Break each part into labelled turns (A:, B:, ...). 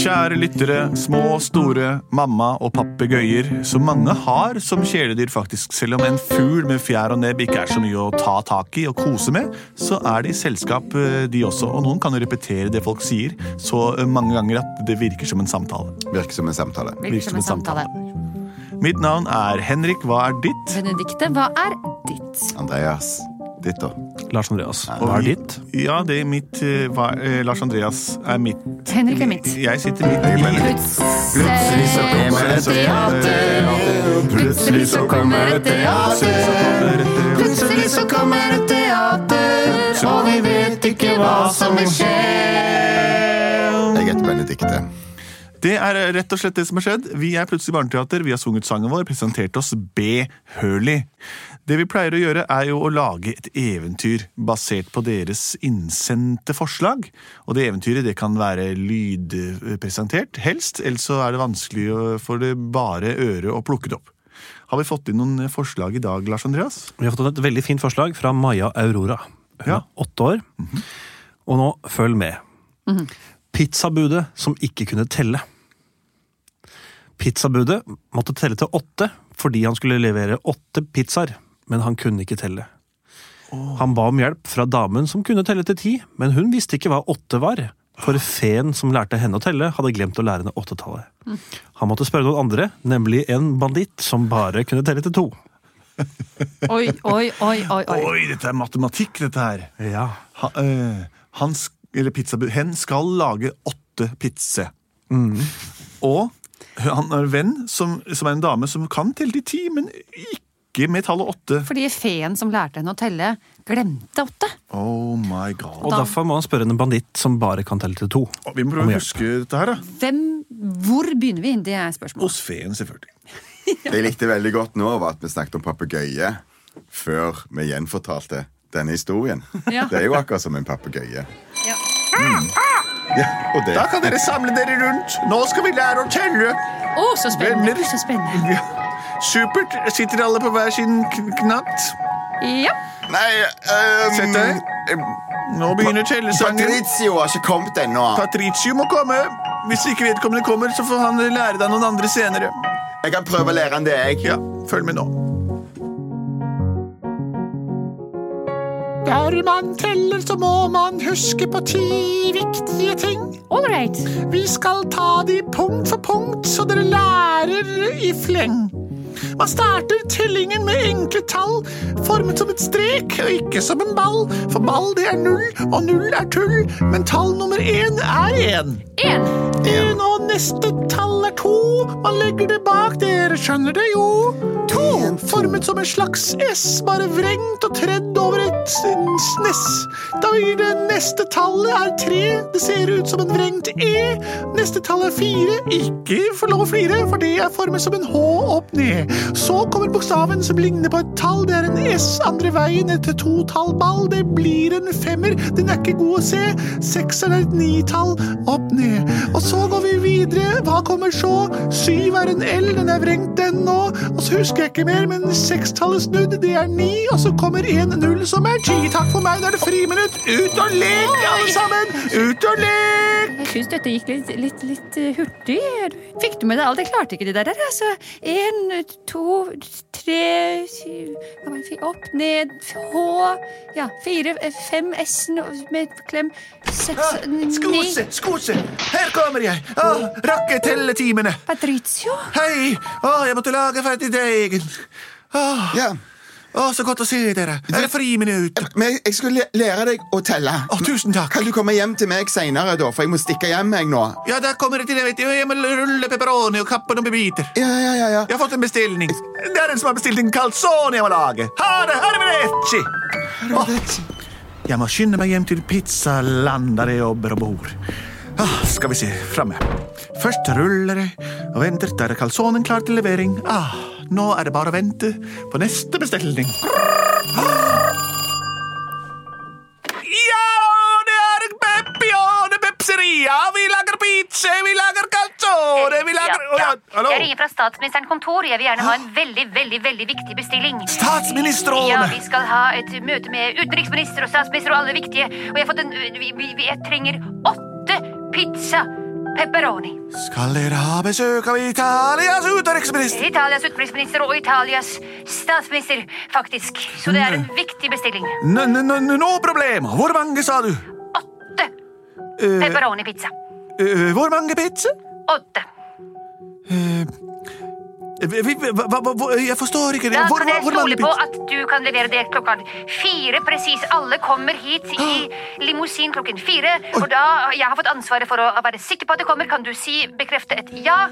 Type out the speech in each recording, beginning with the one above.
A: Kjære lyttere, små og store, mamma og papegøyer, som mange har som kjæledyr faktisk. Selv om en fugl med fjær og nebb ikke er så mye å ta tak i og kose med, så er de i selskap, eh, de også. Og noen kan jo repetere det folk sier så eh, mange ganger at det virker som en samtale.
B: Virker som en samtale.
A: Virker som en samtale. Mitt navn er Henrik, hva er ditt?
C: Benedikte, hva er ditt?
B: Andreas, ditt da?
D: Lars Andreas, hva er
A: vi-
D: ditt?
A: Ja, det er mitt eh, hva, eh, Lars Andreas er mitt.
C: Henrik er mitt.
A: Jeg sitter midt i.
B: Plutselig så kommer et teater. Plutselig så kommer et teater. Plutselig så kommer et teater. Og vi vet ikke hva som vil skje. Jeg heter Benedikte.
A: Det er rett og slett det som har skjedd. Vi er plutselig barneteater, vi har sunget sangen vår, presentert oss behølig. Det vi pleier å gjøre er jo å lage et eventyr basert på deres innsendte forslag. Og det eventyret det kan være lydpresentert, helst, ellers så er det vanskelig å- for det bare øret å plukke det opp. Har vi fått inn noen forslag i dag, Lars Andreas?
D: Vi har fått et veldig fint forslag fra Maja Aurora. Hun
A: Ja.
D: er åtte år. Og nå, følg med. Pizzabudet som ikke kunne telle. Pizzabudet måtte telle til åtte fordi han skulle levere åtte pizzaer, men han kunne ikke telle. Han ba om hjelp fra damen som kunne telle til ti, men hun visste ikke hva åtte var. For feen som lærte henne å telle, hadde glemt å lære henne åttetallet. Han måtte spørre noen andre, nemlig en banditt som bare kunne telle til to.
C: Oi, oi, oi, oi, oi.
A: Oi, dette er matematikk, dette her.
D: Ja,
A: Ha, eh, han, sk- eller pizzabud, hen skal lage åtte pizze. Mm. Og han har en venn som, som er en dame som kan telle til ti, men ikke med tallet åtte.
C: Fordi feen som lærte henne å telle, glemte åtte.
A: Oh my
D: Og
A: god.
C: Da-
D: derfor må han spørre en banditt som bare kan telle til to.
A: Vi må
D: Om
A: prøve å
D: hjelp.
A: huske dette her, da.
C: Hvem, hvor begynner vi? Det er spørsmålet.
A: Hos feen, selvfølgelig.
B: Det jeg likte veldig godt nå, var at vi snakket om papegøye før vi gjenfortalte denne historien.
C: Ja.
B: Det er jo akkurat som en papegøye.
C: Ja.
B: Ja, og det
A: Da kan dere samle dere rundt. Nå skal vi lære å telle.
C: Å, så spennende!
A: Venner.
C: Så spennende.
A: Ja. Supert. Sitter alle på hver sin kn- knatt?
C: Ja.
B: Nei um,
A: Sett deg. Nå begynner tellesangen.
B: Patricio har ikke kommet ennå.
A: Patricio må komme. Hvis ikke vedkommende kommer, så får han lære deg noen andre senere.
B: Jeg kan prøve å lære han det, jeg.
A: Ja, følg med nå.
E: Der man teller, så må man huske på ti viktige ting.
C: All right.
E: Vi skal ta de punkt for punkt, så dere lærer i fleng. Man starter tellingen med enkle tall, formet som et strek og ikke som en ball. For ball det er null, og null er tull, men tall nummer én er én.
C: Én.
E: En og neste tall er to. Man legger det bak, dere skjønner det jo. To, formet som en slags S, bare vrengt og tredd over et s- sness. Da blir det neste tallet er tre, det ser ut som en vrengt E. Neste tall er fire, ikke for lov å flire, for det er formet som en H opp ned. Så kommer bokstaven som ligner på et tall, det er en S andre veien etter to tall ball, det blir en femmer, den er ikke god å se. Sekser er et nitall, opp ned. Og så går vi videre, hva kommer så? Syv er en L, den er vrengt den nå. Og så husker jeg ikke mer, men sekstallet snudd, det er ni. Og så kommer en null som er ti. Takk for meg, nå er det friminutt. Ut og lek, alle sammen! Ut og lek!
C: Jeg syns dette gikk litt, litt, litt eh, hurtig. Fikk du med deg alt? Jeg klarte ikke det der. Altså, én, to, tre syv, hva var det? Fi- Opp, ned, H ja, Fire, eh, fem S-en og- med klem. Seks, ni
A: Ah, Skose, skose, her kommer jeg. Åh, rakk jeg telle timene.
C: Patricio?
A: Hei, åh, jeg måtte lage ferdig deigen. Åh,
B: Ja.
A: åh, så godt å se dere. Er det friminutt?
B: Men jeg- jeg skulle læ- lære deg å telle.
A: Åh, tusen takk.
B: Kan du komme hjem til meg senere, da? For jeg må stikke hjem, jeg nå.
A: Ja, der kommer jeg til, jeg vet jo, jeg må rulle pepperoni og kappe noen biter.
B: Ja, ja, ja, ja.
A: Jeg har fått en bestilling. Det er en som har bestilt en calzone jeg må lage. Ha det, arrivederci. Jeg må skynde meg hjem til pizzaland der jeg jobber og bor. Ah, skal vi se, framme. Først ruller jeg og venter. Der er calzonen klar til levering. Ah, nå er det bare å vente på neste bestilling. Ja, det er Peppione Pepseria. Vi lager pizza, vi lager calzone, vi lager Å, ja, hallo.
F: Jeg ringer fra statsministerens kontor. Jeg vil gjerne ha en veldig, veldig, veldig viktig bestilling. Ja,
A: Statsministrene!
F: vi skal ha et møte med utenriksminister og statsminister og alle viktige. Og jeg har fått en vi- vi- vi- Jeg trenger åtte pizza. Pepperoni.
A: Skal dere ha besøk av Italias utenriksminister?
F: Italias utenriksminister og Italias statsminister, faktisk. Så det er
A: Mm.
F: en viktig bestilling.
A: N -n -n no problem. Hvor mange, sa du?
F: Åtte
A: Eh,
F: pepperoni-pizza.
A: eh, hvor mange pizza?
F: Åtte.
A: Eh, vi- vi- hva- hva- hva- Jeg forstår ikke det.
F: Da
A: Hvor,
F: kan jeg
A: hvor mange
F: stole på
A: pizza?
F: at du kan levere det klokka fire presis. Alle kommer hit i limousin klokken fire. Og da jeg har fått ansvaret for å være sikker på at det kommer, kan du si bekrefte et ja?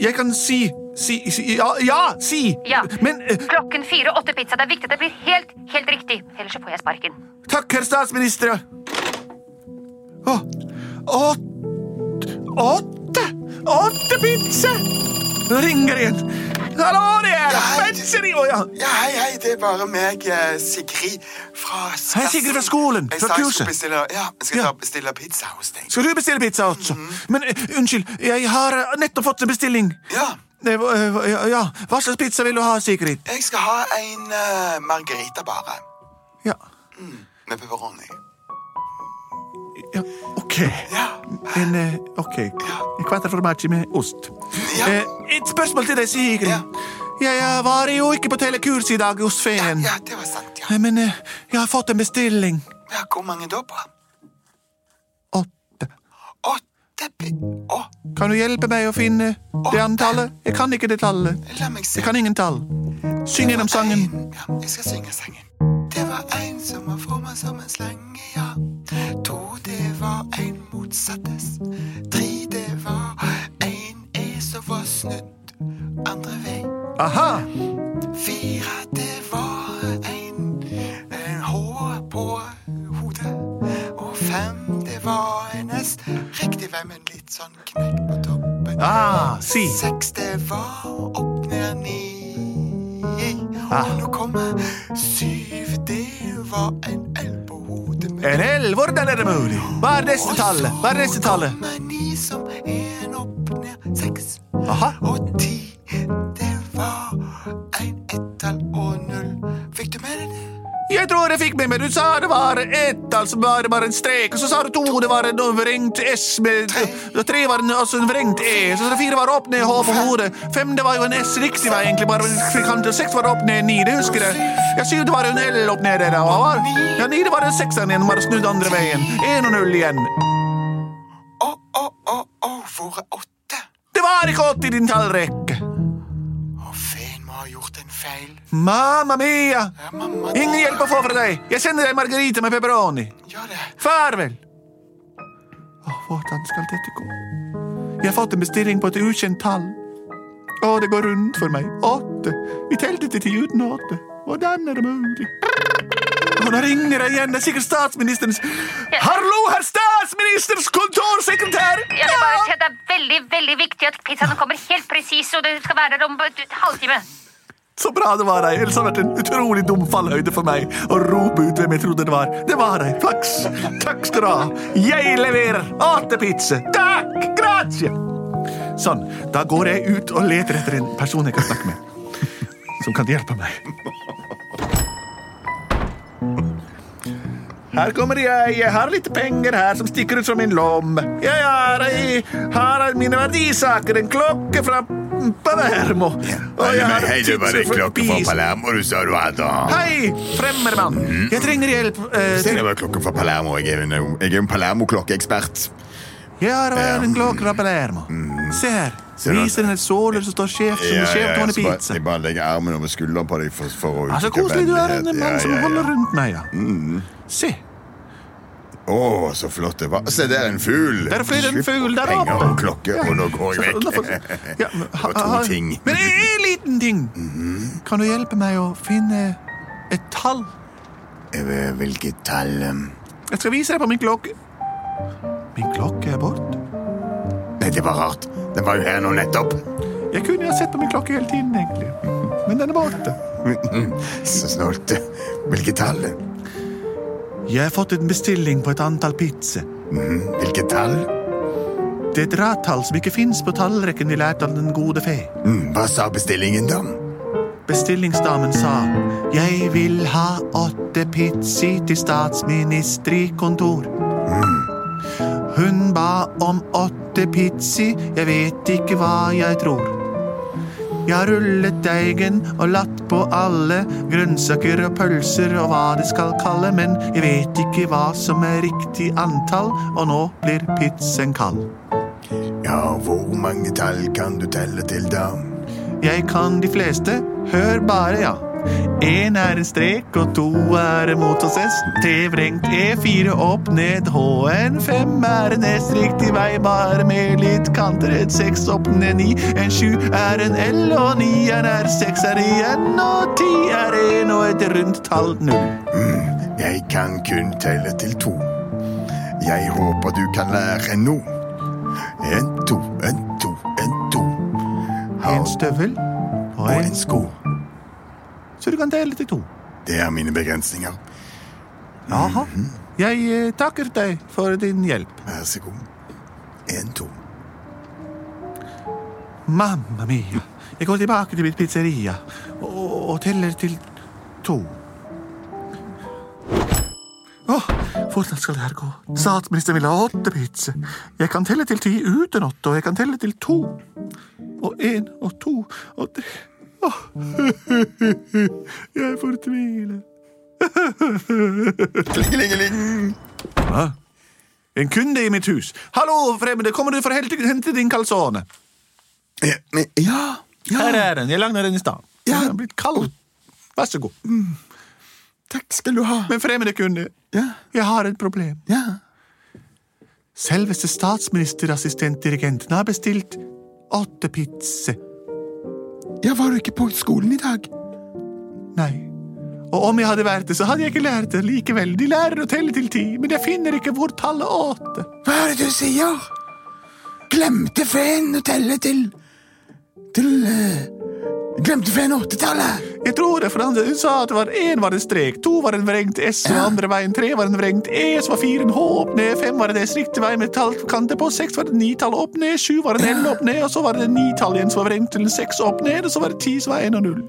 A: Jeg kan si si, si ja, ja, si.
F: Ja.
A: Men eh,
F: Klokken fire, åtte pizza. Det er viktig at det blir helt, helt riktig. Ellers så får jeg sparken.
A: takk, herr statsminister. Åh, åt, åtte! Åtte pizza! Nå ringer det igjen. Hallo, det er
G: Hei.
A: Benseri! Å ja.
G: Ja, hei, hei, det er bare meg, eh, Sigrid fra
A: Hei, Sigrid fra skolen,
G: Jeg
A: fra
G: sa jeg
A: kurset.
G: skulle bestille, ja, jeg skal
A: Ja.
G: ta- bestille pizza hos deg.
A: Skal du bestille pizza også?
G: Mhm.
A: Men eh, unnskyld, jeg har eh, nettopp fått en bestilling.
G: Ja,
A: Eh, hva- eh, hva- ja, ja. Hva slags pizza vil du ha, Sigrid?
G: jeg skal ha en eh, margarita bare,
A: Ja,
G: med pepperoni.
A: ja. ok.
G: Ja,
A: En, eh, ok. En quattro formaggi med ost.
G: Ja.
A: Eh, et spørsmål til deg, Sigrid.
G: Ja.
A: Jeg, eh, var jo ikke på telekurs i dag hos feen.
G: ja, det var sant, ja.
A: Eh, Men eh, jeg har fått en bestilling.
G: ja hvor mange da på?
A: Åtte.
G: Åtte pi... Å,
A: Kan du hjelpe meg å finne det antallet? Jeg kan ikke det tallet.
G: la meg se.
A: Jeg kan ingen tall. Syng gjennom sangen.
G: En- Ja, jeg skal synge sangen. Det var en som var formet som en slange, ja. To, det var en motsattes. Tre, det var en E som var snudd andre vei.
A: Aha!
G: Fire, det var en, en H på hodet. Og fem, det var en S. Riktig vei, men litt sånn knekk på toppen.
A: Ah, si.
G: Seks, det var opp ned ni.
A: Ah.
G: Og nå kommer syv, det var en L på hodet. med-
A: En L, hvordan er det mulig? Hva er neste
G: Og
A: tallet? Hva er neste
G: så
A: tallet?
G: kommer ni som en opp ned seks.
A: Aha.
G: Og ti, det var en ettall og null. Fikk du med deg det?
A: Jeg tror jeg fikk med meg, du sa det var ett, altså bare, bare en strek, og så sa du to, det var en vrengt S med og Tre var en, også en vrengt E, så det fire var opp ned H på hodet. Fem, det var jo en S riktig vei, egentlig, bare en firkant, og seks var opp ned ni, det husker jeg. Ja, syv, det var jo en L opp ned der, og hva? Ja, ni, det var en sekseren igjen, bare snudd andre veien. En og null igjen.
G: Å, å, å, å, hvor er åtte?
A: Det var ikke åtte i din tallrekke.
G: Å, feen må ha gjort en feil.
A: Mamma mia!
G: Ja, mamma,
A: Ingen hjelp å få fra deg. Jeg sender deg margarita med pepperoni.
G: gjør det.
A: Farvel! Åh, hvordan skal dette gå? Jeg har fått en bestilling på et ukjent tall. Å, det går rundt for meg. Åtte. Vi telte til ti uten åtte. Hvordan er det mulig? Å, nå ringer jeg igjen. Det er sikkert statsministerens Hallo, herr statsministerens kontorsekretær!
F: Jeg vil bare si at Det er veldig veldig viktig at pizzaen kommer helt presis, og det skal være der om et et halvtime.
A: Så bra det var her. Ellers hadde det vært en utrolig dum fallhøyde for meg å rope ut hvem jeg trodde det var. Det var her. Flaks. Takk skal du ha. Jeg leverer atepizza. Takk. Grazie. Sånn. Da går jeg ut og leter etter en person jeg kan snakke med. Som kan hjelpe meg. Her kommer jeg. Jeg har litt penger her som stikker ut fra min lomme. Jeg har, jeg har mine verdisaker. En klokke fra Palermo. Og jeg har
H: Hei, det var
A: tipset
H: en
A: for
H: klokke fra
A: pizza.
H: Palermo Mm. du sa du hadde.
A: Hei, fremmedmann! Jeg trenger hjelp. eh,
H: Det var klokken fra Palermo. Jeg er en, jeg er en Palermo-klokkeekspert.
A: jeg har en klokke fra Palermo. Se her.
H: Mm. du det?
A: Viser den et såler som står skjevt som en skjevtående
H: jeg, bare,
A: pizza.
H: jeg bare legger armen over skulderen på deg for, for å
A: Ja, så
H: uttrykke
A: koselig du er, en
H: vennlighet.
A: mann som
H: Ja, Mm. ja, ja.
A: holder rundt meg, ja. Se,
H: Å, så flott det var. Se, der er en fugl.
A: der flyr en
H: Slipp
A: fugl der oppe.
H: Penger og klokke,
A: Ja.
H: og nå går jeg
A: Så- da får-
H: vekk.
A: Ja, men,
H: Det
A: ha-
H: var to
A: ha-
H: ting. Mhm.
A: Men en liten ting. Kan du hjelpe meg å finne et tall?
H: Jeg vet Hvilket tall um,
A: Jeg skal vise deg på min klokke. Min klokke er borte.
H: Nei, det var rart. Den var jo her nå nettopp.
A: Jeg kunne ha sett på min klokke hele tiden, egentlig. Men den er borte.
H: Så snålt. Hvilket tall?
A: Jeg har fått en bestilling på et antall pizza.
H: Mhm, Hvilket tall?
A: Det er et rattall som ikke fins på tallrekken vi lærte av den gode fe.
H: Mhm, Hva sa bestillingen, da?
A: Bestillingsdamen sa Jeg vil ha åtte pizzi til statsministerkontor. Hun ba om åtte pizzi, jeg vet ikke hva jeg tror. Jeg har rullet deigen og latt på alle grønnsaker og pølser og hva det skal kalle, men jeg vet ikke hva som er riktig antall, og nå blir pizzaen kald.
H: Ja, hvor mange tall kan du telle til, da?
A: Jeg kan de fleste. Hør bare, ja. Én er en strek, og to er en motsatt S. T vrengt E4 E opp ned. H-en fem er en S riktig vei, bare med litt kanter. En seks opp ned ni. En sju er en L, og nieren er seks er igjen. Og ti er en, og et rundt tall null.
H: Jeg kan kun telle til to. Jeg håper du kan lære noe. En, to, en, to, en, to.
A: En
H: Har
A: støvel og
H: og
A: en
H: en sko.
A: Så du kan dele til to.
H: Det er mine begrensninger.
A: Jaha. Jeg eh, takker deg for din hjelp.
H: Vær så god. En, to.
A: Mamma mia. E Jeg går tilbake til mitt pizzeria og, og teller til to. Åh, hvordan Oh, skal det her gå? Statsministeren vil ha åtte pizzaer. Jeg kan telle til ti uten åtte, og jeg kan telle til to. Og én og to og tre Åh, jeg fortviler.
H: Klingelingeling!
A: En kunde i mitt hus. Hallo, fremmede, kommer du for å hente din calzone?
H: Ja, men- ja,
A: Her
H: ja,
A: er den. Jeg lagde den i stad.
H: Ja. Mm.
A: Den er blitt kald. Vær så god.
H: takk skal du ha.
A: Men fremmede kunde,
H: Ja,
A: jeg har et problem.
H: ja.
A: Selveste statsministerassistentdirigenten har bestilt åtte pizze.
H: ja, var du ikke på skolen i dag?
A: Nei. Og om jeg hadde vært det, så hadde jeg ikke lært det likevel. De lærer å telle til ti, men jeg finner ikke hvor tallet åtte.
H: Hva er det du sier? Glemte feen å telle til Til eh, Glemte feen åttetallet?
A: Jeg tror det, for han hun sa at det var én var en strek, to var en vrengt S, og andre veien tre var en vrengt E, så var fire en H opp ned, fem var en S riktig vei med tallkanter på, seks var det ni-tall opp ned, sju var en L opp ned, og så var det ni-tall igjen som var vrengt til en seks opp ned, og så var det ti som var en og null.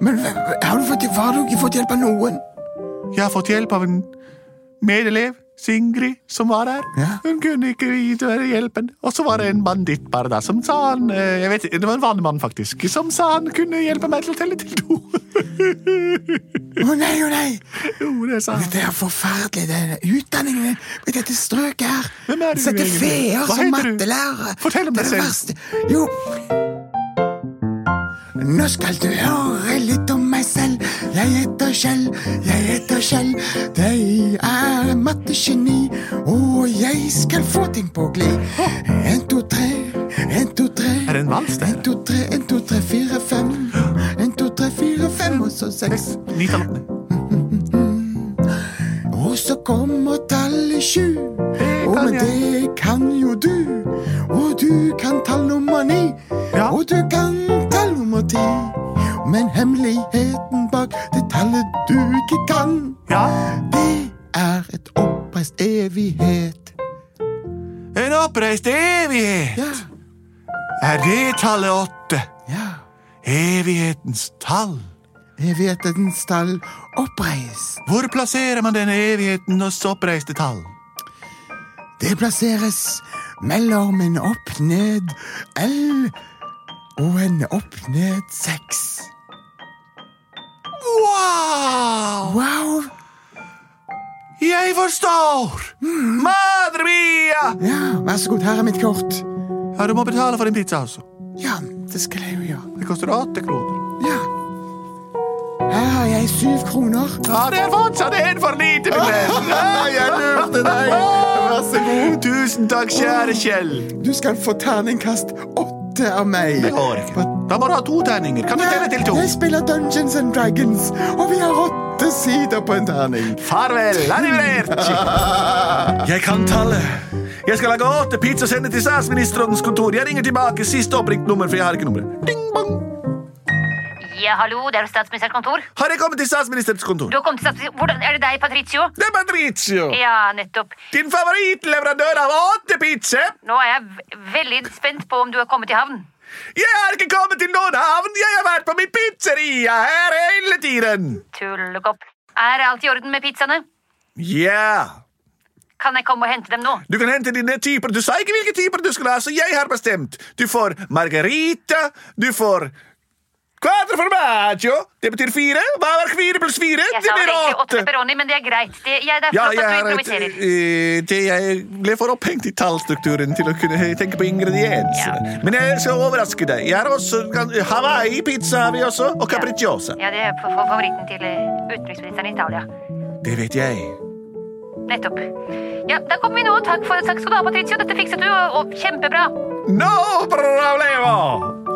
H: Men hva- har du fått, har du ikke fått hjelp av noen?
A: Jeg har fått hjelp av en medelev, Singrid, som var der.
H: Ja.
A: Hun kunne ikke videre hjelpen. Og så var det en banditt bare der som sa han eh, jeg vet, ikke, Det var en vanlig mann, faktisk. Som sa han kunne hjelpe meg til å telle til to.
H: Å nei, å nei!
A: jo, det sa han.
H: Det er forferdelig, denne utdanningen din med dette strøket her.
A: Hvem er du
H: Sette
A: egentlig?
H: feer
A: Hva
H: som
A: heter du?
H: mattelærere.
A: Fortell om
H: Det
A: deg
H: er det
A: selv.
H: verste. Jo. Nå skal du høre litt om meg selv. Jeg heter Kjell, jeg heter Kjell. Jeg er mattegeni, og jeg skal få ting på glid. En, to, tre, en, to, tre.
A: Er det en vals, det her?
H: En, to, tre, en, to, tre, fire, fem. En, to, tre, fire, fem, og så seks.
A: Ni tall opp ned.
H: Og så kommer tallet sju. Og
A: kan
H: men
A: jeg.
H: det kan jo du. Og du kan tall nummer ni.
A: Ja.
H: Og du kan tall nummer ti. Men hemmeligheten bak det tallet du ikke kan,
A: Ja.
H: det er et oppreist evighet.
A: En oppreist evighet.
H: Ja,
A: Er det tallet åtte?
H: ja.
A: Evighetens tall.
H: Evighetens tall oppreist.
A: Hvor plasserer man denne evigheten hos oppreiste tall?
H: Det plasseres mellom en opp-ned L og en opp-ned seks.
A: Wow!
H: Wow!
A: Jeg forstår!
H: Mm.
A: Madre mia!
H: Ja, vær så god, her er mitt kort.
A: Ja, du må betale for din pizza, altså.
H: Ja, det skal jeg jo gjøre.
A: Det koster åtte kroner.
H: Ja. Her har jeg syv kroner.
A: Ja, det er fortsatt en for lite, min venn!
H: jeg lurte deg! Vær så god.
A: Tusen takk, kjære Kjell.
H: Du skal få terningkast åtte av meg.
A: Det går ikke. Da må du ha to terninger. Kan du telle til to?
H: Jeg spiller Dungeons and Dragons, og vi har åtte sider på en terning.
A: Farvel. Arrivederci. Jeg kan tallet. Jeg skal lage åtte pizza og sende til statsministerens kontor. Jeg ringer tilbake siste oppringt nummer, for jeg har ikke nummeret. Ding, bong.
F: Ja, hallo, det er jo statsministerens kontor.
A: Har jeg kommet til statsministerens kontor?
F: Du har kommet til statsminister... Hvordan er det deg, Patricio?
A: Det er Patricio.
F: Ja, nettopp.
A: Din favorittleverandør av åtte pizzaer.
F: Nå er jeg v- veldig spent på om du har kommet i havn.
A: Jeg har ikke kommet til noen havn. Jeg har vært på mitt pizzeria her hele tiden.
F: Tullekopp. Er alt i orden med pizzaene?
A: Ja.
F: Kan jeg komme og hente dem nå?
A: Du kan hente dine typer. Du sa ikke hvilke typer du skulle ha, så jeg har bestemt. Du får margarita, du får Quadro formaggio. Det betyr fire. Hva er fire pluss fire?
F: Jeg
A: Det
F: sa vel
A: blir
F: egentlig åtte
A: åtte.
F: pepperoni, men det er greit. Det, jeg, det er
A: Ja,
F: flott
A: jeg
F: at
A: har
F: du
A: et,
F: improviserer.
A: eh, det jeg ble for opphengt i tallstrukturen til å kunne eh, tenke på ingrediensene. Men jeg skal overraske deg. Jeg har også Hawaii-pizza har vi også, og capricciosa.
F: Ja, det er fa- fa- favoritten til eh, utenriksministeren i Italia.
A: Det vet jeg.
F: Nettopp. Ja, da kommer vi nå. Takk, for, takk skal du ha, Patricio. Dette fikset du, og, og kjempebra.
A: No problemo!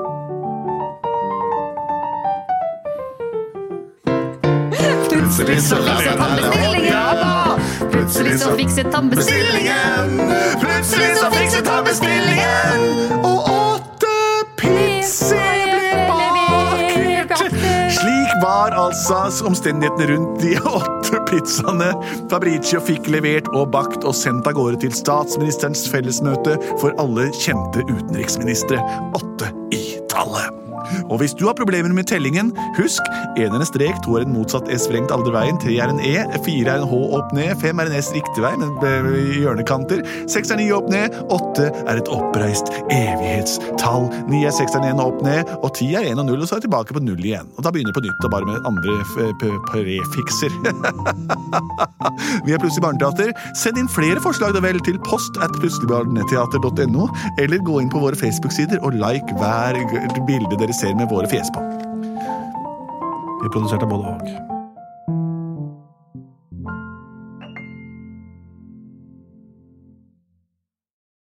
B: Plutselig så
C: Fikset han bestillingen! Plutselig
B: Plutselig
C: så fikset han bestillingen!
B: så fikset han bestillingen.
A: Og åtte pizzaer ble bakert. Slik var altså omstendighetene rundt de åtte pizzaene Fabricio fikk levert og bakt og sendt av gårde til statsministerens fellesmøte for alle kjente utenriksministre. Åtte i tallet. Og hvis du har problemer med tellingen, husk en er en strek, to er en motsatt S vrengt andre veien, tre er en E, fire er en H opp ned, fem er en S riktig vei, men eh, i hjørnekanter, seks er ni opp ned, åtte er et oppreist evighetstall, ni er seks er en opp ned, og ti er en og null, og så er jeg tilbake på null igjen. Og da begynner jeg på nytt, og bare med andre eh, p- prefikser. Vi er Plutselig barneteater. Send inn flere forslag da vel til post at plutseligbarneteater.no, eller gå inn på våre Facebook-sider og like hver g- bilde dere ser med våre fjes på.
D: Vi produserte både og.